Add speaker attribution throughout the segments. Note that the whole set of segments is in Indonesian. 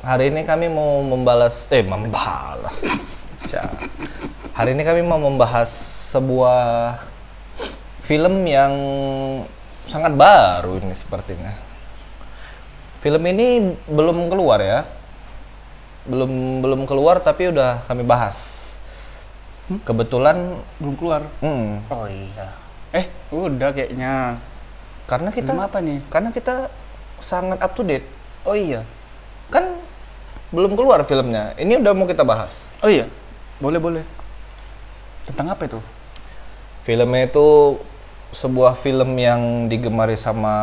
Speaker 1: Hari ini kami mau membalas eh membalas. Sya. Hari ini kami mau membahas sebuah film yang sangat baru ini sepertinya. Film ini belum keluar ya. Belum belum keluar tapi udah kami bahas.
Speaker 2: Hmm?
Speaker 1: Kebetulan
Speaker 2: belum keluar
Speaker 1: mm,
Speaker 3: Oh iya.
Speaker 2: eh udah kayaknya
Speaker 1: karena kita
Speaker 2: Film apa nih?
Speaker 1: Karena kita sangat up to date.
Speaker 2: oh iya
Speaker 1: Kan belum keluar filmnya. Ini udah mau kita bahas.
Speaker 2: oh iya boleh boleh tentang apa itu
Speaker 1: Filmnya itu sebuah film yang digemari sama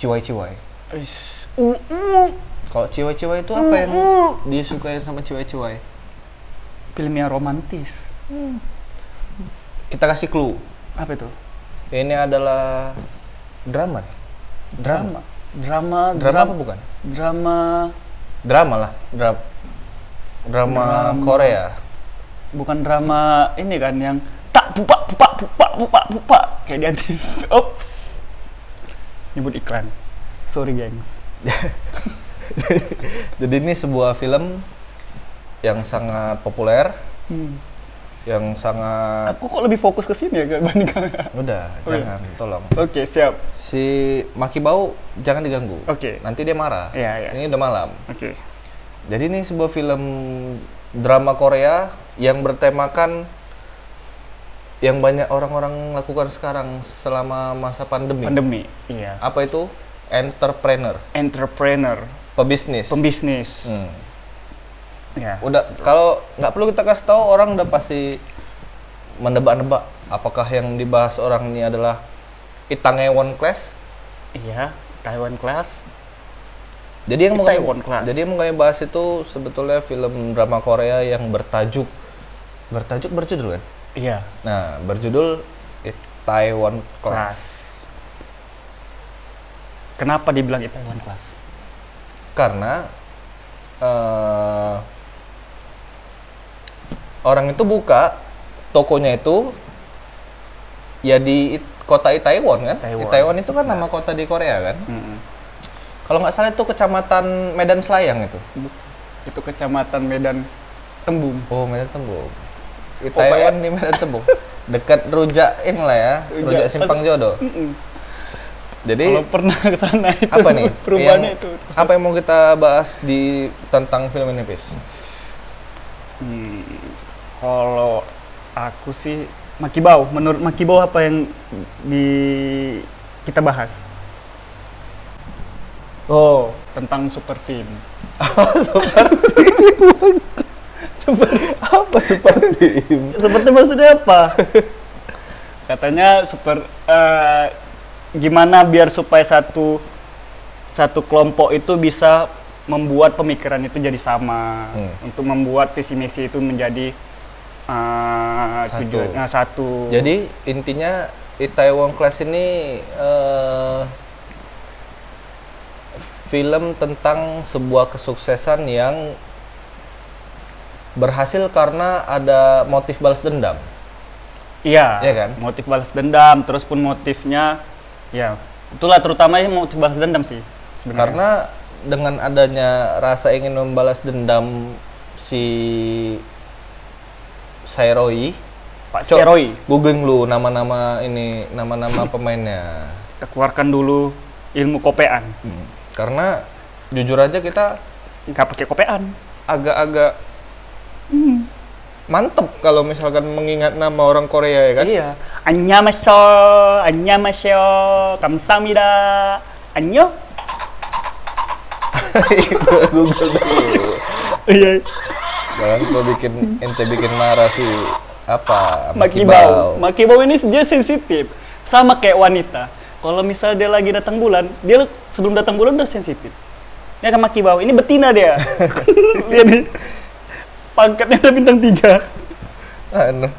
Speaker 1: ciwai-ciwai.
Speaker 2: Is, uh, uh.
Speaker 1: Kalau ciwai-ciwai itu apa yang disukai sama ciwai-ciwai?
Speaker 2: film yang romantis
Speaker 1: Kita kasih clue.
Speaker 2: apa itu
Speaker 1: Ini adalah drama. nih. Drama.
Speaker 2: drama
Speaker 1: Drama, apa bukan?
Speaker 2: drama
Speaker 1: Drama lah. Dra- drama,
Speaker 2: Drama.
Speaker 1: Korea.
Speaker 2: bukan drama ini kan yang tak buka buka buka buka buka kayak di anti ops nyebut iklan sorry gengs
Speaker 1: Jadi ini sebuah film yang sangat populer,
Speaker 2: Hmm.
Speaker 1: yang sangat
Speaker 2: aku kok lebih fokus ke sini ya dibanding kamu?
Speaker 1: udah
Speaker 2: Oh iya.
Speaker 1: jangan tolong.
Speaker 2: oke siap
Speaker 1: Si Maki Bau jangan diganggu.
Speaker 2: Oke.
Speaker 1: Nanti dia marah.
Speaker 2: Iya, iya.
Speaker 1: Ini udah malam.
Speaker 2: oke
Speaker 1: Jadi ini sebuah film drama Korea yang bertemakan yang banyak orang-orang lakukan sekarang selama masa pandemi.
Speaker 2: pandemi iya
Speaker 1: Apa itu? Entrepreneur,
Speaker 2: entrepreneur,
Speaker 1: pebisnis.
Speaker 2: pembisnis.
Speaker 1: Hmm.
Speaker 2: Ya.
Speaker 1: Udah kalau nggak perlu kita kasih tahu orang udah pasti menebak-nebak apakah yang dibahas orang ini adalah Itangewon Class.
Speaker 2: Iya, Taiwan class.
Speaker 1: Jadi yang mau kami-
Speaker 2: Itaewon Class.
Speaker 1: Jadi yang mau kami bahas itu sebetulnya film drama Korea yang bertajuk bertajuk berjudul kan?
Speaker 2: Iya,
Speaker 1: Nah, berjudul Taiwan
Speaker 2: class.
Speaker 1: Class.
Speaker 2: Kenapa dibilang ya Taiwan class?
Speaker 1: Karena eh, orang itu buka tokonya itu ya di It- kota Itaewon kan?
Speaker 2: Itaewon.
Speaker 1: Itaewon itu kan nama kota di Korea kan?
Speaker 2: Hmm.
Speaker 1: Kalau nggak salah itu kecamatan Medan Selayang itu.
Speaker 2: Itu kecamatan Medan Tembung.
Speaker 1: Oh, Medan Tembung.
Speaker 2: Oh,
Speaker 1: Itaewon di Medan Tembung. Dekat Rujakin lah ya,
Speaker 2: Rujak.
Speaker 1: Rujak Simpang Jodoh. Jadi
Speaker 2: Kalau pernah ke sana itu
Speaker 1: Eh. apa nih
Speaker 2: perubahannya
Speaker 1: yang-
Speaker 2: itu.
Speaker 1: apa yang mau kita bahas di tentang film ini Pis?
Speaker 2: Oh. Hmm, kalau aku sih Makibau, menurut Makibau apa yang di kita bahas? Oh, tentang super team.
Speaker 1: apa seperti ini?
Speaker 2: Seperti maksudnya apa? Katanya super eh, gimana biar supaya satu satu kelompok itu bisa membuat pemikiran itu jadi sama
Speaker 1: Hmm.
Speaker 2: untuk membuat visi misi itu menjadi eh,
Speaker 1: Satu.
Speaker 2: tujuan nah, satu.
Speaker 1: Jadi intinya Itaewon Class ini eh, film tentang sebuah kesuksesan yang berhasil karena ada motif balas dendam.
Speaker 2: iya.
Speaker 1: Iya kan?
Speaker 2: Motif balas dendam terus pun motifnya ya itulah terutama ini motif balas dendam sih sebenarnya.
Speaker 1: Karena dengan adanya rasa ingin membalas dendam si Sairoi,
Speaker 2: Pak
Speaker 1: Cok,
Speaker 2: Seroi
Speaker 1: Googling lu nama-nama ini, nama-nama pemainnya.
Speaker 2: kita keluarkan dulu ilmu kopean.
Speaker 1: Hmm. Karena jujur aja kita
Speaker 2: Nggak pakai kopean.
Speaker 1: agak-agak mantep kalau misalkan mengingat nama orang Korea ya kan.
Speaker 2: Iya. Annyeonghaseyo, annyeonghaseyo, kamsahamnida, annyeong.
Speaker 1: Google dulu.
Speaker 2: Iya,
Speaker 1: Jangan gua bikin ente bikin marah si apa?
Speaker 2: makibau.
Speaker 1: Makibau.
Speaker 2: Makibau ini dia sensitif. Sama kayak wanita. Kalau misalnya dia lagi datang bulan, dia le- sebelum datang bulan udah sensitif. Ini akan makibau. Ini betina dia. dia di pangkatnya ada bintang tiga.
Speaker 1: Anu.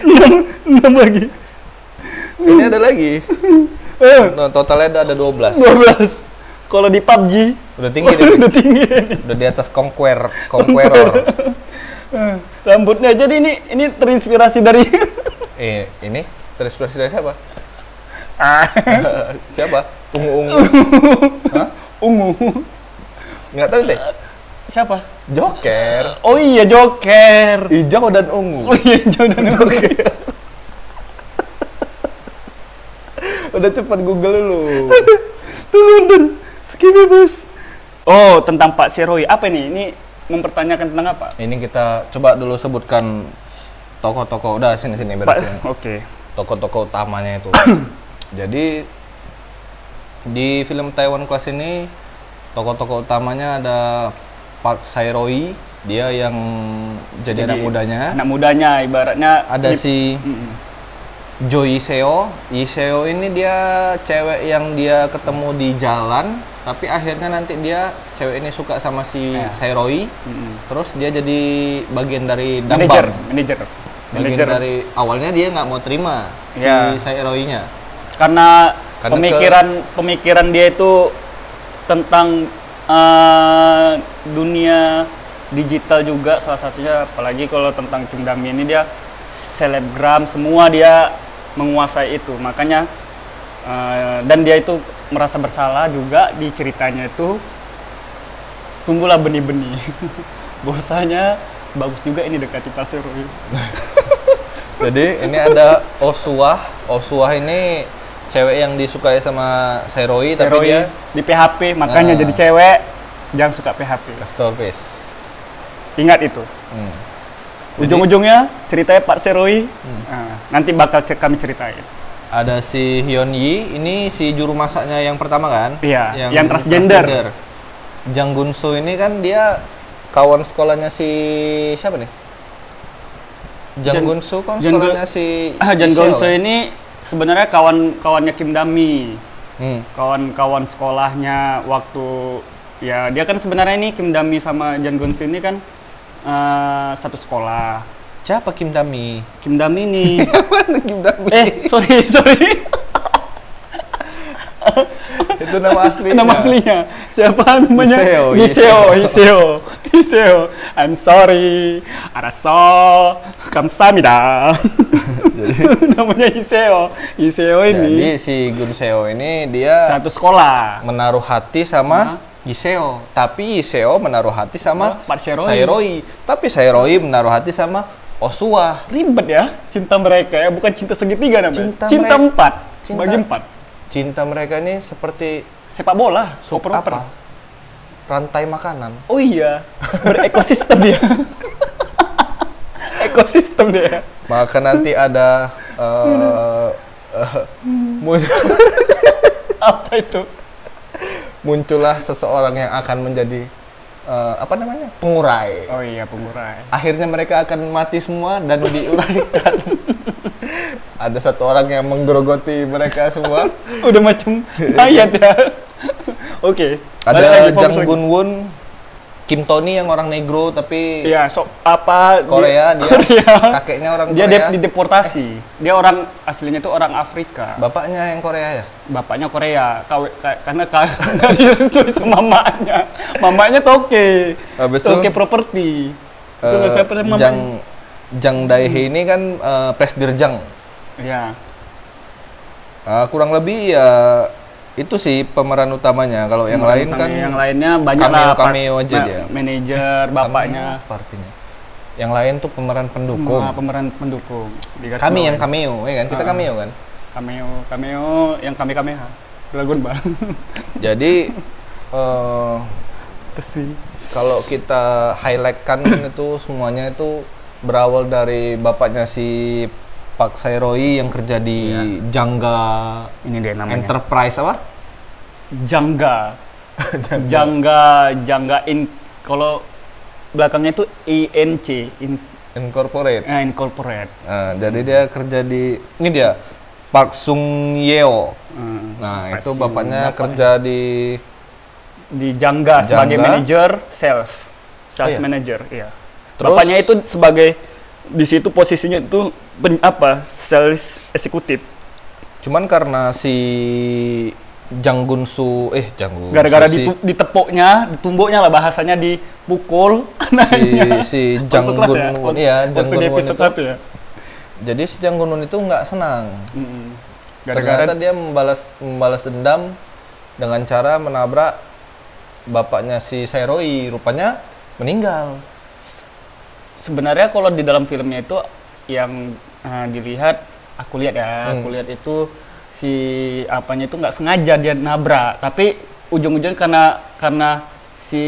Speaker 2: Enam, enam lagi.
Speaker 1: Ini ada lagi.
Speaker 2: Eh,
Speaker 1: No, totalnya ada ada 12.
Speaker 2: dua belas. Kalau di PUBG,
Speaker 1: Udah tinggi nih.
Speaker 2: udah tinggi.
Speaker 1: Udah di atas conquer, conqueror.
Speaker 2: Eh, rambutnya jadi ini ini terinspirasi dari
Speaker 1: eh, ini terinspirasi dari siapa?
Speaker 2: Ah,
Speaker 1: siapa? Ungu-ungu.
Speaker 2: ungu
Speaker 1: Nggak tahu deh.
Speaker 2: Siapa?
Speaker 1: Joker.
Speaker 2: Oh iya Joker.
Speaker 1: Hijau dan ungu.
Speaker 2: Oh iya Jordan Iya. Joker.
Speaker 1: Udah cepet Google dulu.
Speaker 2: London. Skimmy bus. Oh tentang Pak Seroy apa ini? Ini mempertanyakan tentang apa?
Speaker 1: Ini kita coba dulu sebutkan toko-toko. Udah sini sini
Speaker 2: Pak.
Speaker 1: berarti.
Speaker 2: Oke.
Speaker 1: Toko-toko utamanya itu. Jadi di film Taiwan Class ini toko-toko utamanya ada Park Sairoi, dia yang jadi, anak
Speaker 2: Jadi,
Speaker 1: mudanya.
Speaker 2: Anak mudanya ibaratnya.
Speaker 1: ada
Speaker 2: ini-
Speaker 1: si
Speaker 2: Mm-mm.
Speaker 1: Joy Seo. Iseo ini dia cewek yang dia ketemu di jalan, tapi akhirnya nanti dia cewek ini suka sama si
Speaker 2: Ya.
Speaker 1: Sairoi.
Speaker 2: Mm-mm.
Speaker 1: Terus dia jadi bagian dari Dambang.
Speaker 2: Manager, manager,
Speaker 1: Bagian
Speaker 2: manager.
Speaker 1: dari awalnya dia nggak mau terima
Speaker 2: Ya.
Speaker 1: si Sairoi-nya.
Speaker 2: Karena,
Speaker 1: Karena
Speaker 2: pemikiran pemikiran dia itu tentang eh, dunia digital juga salah satunya apalagi kalau tentang Kim Dami ini dia selebgram semua dia menguasai itu makanya eh, dan dia itu merasa bersalah juga di ceritanya itu tumbuhlah benih-benih bahwasanya bagus juga ini dekati pasir
Speaker 1: Jadi ini ada Osuah. Osuah ini cewek yang disukai sama Sairoi, tapi
Speaker 2: Seroi
Speaker 1: dia
Speaker 2: di PHP makanya
Speaker 1: Nah.
Speaker 2: jadi cewek jangan suka PHP
Speaker 1: Storface.
Speaker 2: ingat itu
Speaker 1: Hmm. Jadi-
Speaker 2: ujung-ujungnya ceritanya Pak Seroi Nah, nanti bakal cek kami ceritain
Speaker 1: Ada si Hyun Yi, ini si juru masaknya yang pertama kan?
Speaker 2: Iya, yang transgender.
Speaker 1: Jang Gun Soo ini kan dia kawan sekolahnya si siapa nih? Jang
Speaker 2: Jang-
Speaker 1: Gun Soo kan
Speaker 2: Jang Gun-
Speaker 1: sekolahnya si
Speaker 2: Ah, Jan
Speaker 1: Lee Seo
Speaker 2: Gonso
Speaker 1: kan?
Speaker 2: ini sebenarnya kawan-kawannya Kim Dami
Speaker 1: Hmm.
Speaker 2: kawan-kawan sekolahnya waktu ya dia kan sebenarnya ini Kim Dami sama Jan Gonso ini kan eh, satu sekolah
Speaker 1: Siapa Kim Dami?
Speaker 2: Kim Dami ini
Speaker 1: Mana Kim Dami?
Speaker 2: eh sorry sorry
Speaker 1: itu nama Iya. aslinya.
Speaker 2: Nama aslinya. Siapa namanya?
Speaker 1: Iseo,
Speaker 2: Iseo, Iseo, Iseo. I'm sorry. Araso, kamsamida. namanya Iseo. Iseo
Speaker 1: Jadi
Speaker 2: ini
Speaker 1: si Gun Seo ini dia
Speaker 2: satu sekolah.
Speaker 1: menaruh hati sama, Iseo, tapi Iseo menaruh hati sama
Speaker 2: Sama Pak Sairoi.
Speaker 1: Sairoi. Tapi Sairoi menaruh hati sama Osuah.
Speaker 2: Ribet ya cinta mereka ya, bukan cinta segitiga namanya.
Speaker 1: Cinta
Speaker 2: Cinta,
Speaker 1: mereka-
Speaker 2: empat,
Speaker 1: cinta-
Speaker 2: bagi empat.
Speaker 1: cinta mereka ini seperti
Speaker 2: Sepak bola,
Speaker 1: sup
Speaker 2: oper-oper.
Speaker 1: apa? Rantai makanan.
Speaker 2: Oh iya, berekosistem dia. ekosistem dia.
Speaker 1: Maka nanti ada eh, eh, mun-
Speaker 2: Apa itu?
Speaker 1: muncullah seseorang yang akan menjadi eh, apa namanya? pengurai.
Speaker 2: Oh iya, pengurai.
Speaker 1: Akhirnya mereka akan mati semua dan diuraikan. ada satu orang yang menggerogoti mereka semua.
Speaker 2: udah macam mayat ya. Oke. balik
Speaker 1: Ada
Speaker 2: lagi, fokus
Speaker 1: Jang
Speaker 2: lagi.
Speaker 1: Gun Woon, Kim Tony yang orang negro tapi
Speaker 2: Iya, sok apa di-
Speaker 1: Korea dia
Speaker 2: Korea.
Speaker 1: kakeknya orang
Speaker 2: Dia
Speaker 1: Korea.
Speaker 2: dep- dideportasi. Dia orang aslinya itu orang Afrika.
Speaker 1: Bapaknya yang Korea ya?
Speaker 2: Bapaknya Korea. Kawe- ka- karena ka- karena direstui sama mamanya. Mamanya Toke.
Speaker 1: Habis itu,
Speaker 2: Toke properti. Itu nggak
Speaker 1: Eh,
Speaker 2: siapa namanya?
Speaker 1: Jang Jang Daehae ini kan eh, presdirjang.
Speaker 2: Iya.
Speaker 1: Eh, kurang lebih ya itu sih pemeran utamanya. Kalau yang lain
Speaker 2: Tapi
Speaker 1: kan
Speaker 2: yang lainnya banyak lah part-
Speaker 1: cameo-cameo aja
Speaker 2: ma-
Speaker 1: dia.
Speaker 2: Manajer bapaknya.
Speaker 1: apa artinya? Yang lain tuh pemeran pendukung.
Speaker 2: Semua pemeran pendukung. Digas
Speaker 1: kami
Speaker 2: bawain.
Speaker 1: yang cameo, ya kan? Kita
Speaker 2: Ah.
Speaker 1: cameo kan.
Speaker 2: cameo cameo yang kami kameha dragon ball
Speaker 1: Jadi eh,
Speaker 2: pasti
Speaker 1: kalau kita highlightkan itu semuanya itu berawal dari bapaknya si Pak Sairoi yang kerja di
Speaker 2: Iya.
Speaker 1: Jangga
Speaker 2: ini dia namanya
Speaker 1: Enterprise apa?
Speaker 2: jangga jangga jangga in kalau belakangnya itu inc in,
Speaker 1: Incorporate.
Speaker 2: eh, incorporate
Speaker 1: Nah, jadi dia kerja di ini dia Park Sung Yeo.
Speaker 2: Hmm.
Speaker 1: Nah,
Speaker 2: Apa ya?
Speaker 1: itu
Speaker 2: sih
Speaker 1: bapaknya
Speaker 2: bapaknya?
Speaker 1: kerja di
Speaker 2: di jangga, sebagai
Speaker 1: Jangga.
Speaker 2: manajer sales
Speaker 1: Oh,
Speaker 2: sales
Speaker 1: iya.
Speaker 2: manager iya
Speaker 1: Terus-
Speaker 2: bapaknya itu sebagai di situ posisinya itu pen- apa sales eksekutif
Speaker 1: cuman karena si Jang Gun Soo eh Jang Gun
Speaker 2: Oh, gara-gara
Speaker 1: Soo, si,
Speaker 2: ditu- ditepoknya ditumbuknya lah bahasanya dipukul
Speaker 1: si, si Jang
Speaker 2: Waktu kelas
Speaker 1: Gun
Speaker 2: ya?
Speaker 1: Woon
Speaker 2: Waktu-
Speaker 1: iya, Jang
Speaker 2: waktu
Speaker 1: Gun
Speaker 2: di
Speaker 1: Woon
Speaker 2: episode
Speaker 1: itu-
Speaker 2: satu ya
Speaker 1: jadi si Jang Gun Woon itu nggak senang.
Speaker 2: Mm-mm. gara-gara
Speaker 1: Ternyata dia membalas membalas dendam dengan cara menabrak bapaknya si Sairoi rupanya meninggal.
Speaker 2: sebenarnya kalau di dalam filmnya itu yang eh, dilihat aku lihat ya
Speaker 1: Hmm.
Speaker 2: aku lihat itu si apanya itu nggak sengaja dia nabrak tapi ujung-ujung karena karena si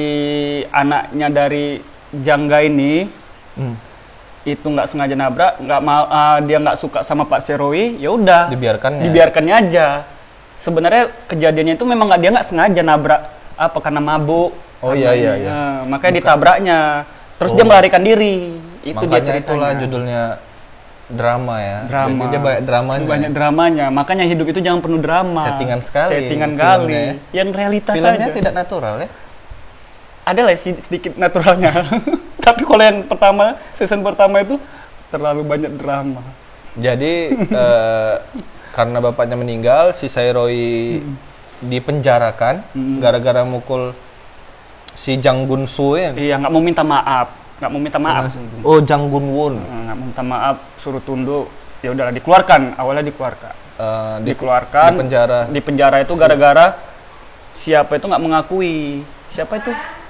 Speaker 2: anaknya dari jangga ini
Speaker 1: Hmm,
Speaker 2: itu nggak sengaja nabrak nggak mau eh, dia nggak suka sama Pak Serowi ya udah
Speaker 1: Dibiarkannya.
Speaker 2: dibiarkannya aja sebenarnya kejadiannya itu memang nggak dia nggak sengaja nabrak apa karena mabuk
Speaker 1: Oh, iya,
Speaker 2: karena
Speaker 1: iya,
Speaker 2: ini,
Speaker 1: iya.
Speaker 2: eh, makanya ditabraknya terus dia melarikan diri itu dia
Speaker 1: Makanya
Speaker 2: ceritanya
Speaker 1: itulah judulnya drama ya.
Speaker 2: drama
Speaker 1: Jadi dia banyak dramanya.
Speaker 2: banyak dramanya makanya hidup itu jangan penuh drama
Speaker 1: Settingan sekali
Speaker 2: settingan
Speaker 1: filmnya
Speaker 2: kali
Speaker 1: ya.
Speaker 2: yang realitas
Speaker 1: Filmnya
Speaker 2: aja
Speaker 1: tidak natural ya.
Speaker 2: ada lah si- sedikit naturalnya tapi kalau yang pertama season pertama itu terlalu banyak drama
Speaker 1: Jadi eh, karena bapaknya meninggal, si Sairoi
Speaker 2: Hmm.
Speaker 1: dipenjarakan gara-gara mukul si Jang Gun Soo ya.
Speaker 2: iya nggak mau minta maaf nggak mau minta maaf Eh,
Speaker 1: Oh Jang Gun Woon
Speaker 2: nggak mau minta maaf suruh tunduk ya udahlah dikeluarkan awalnya dikeluarkan
Speaker 1: Eh, di,
Speaker 2: dikeluarkan
Speaker 1: di penjara.
Speaker 2: di penjara itu gara-gara siapa itu nggak mengakui siapa itu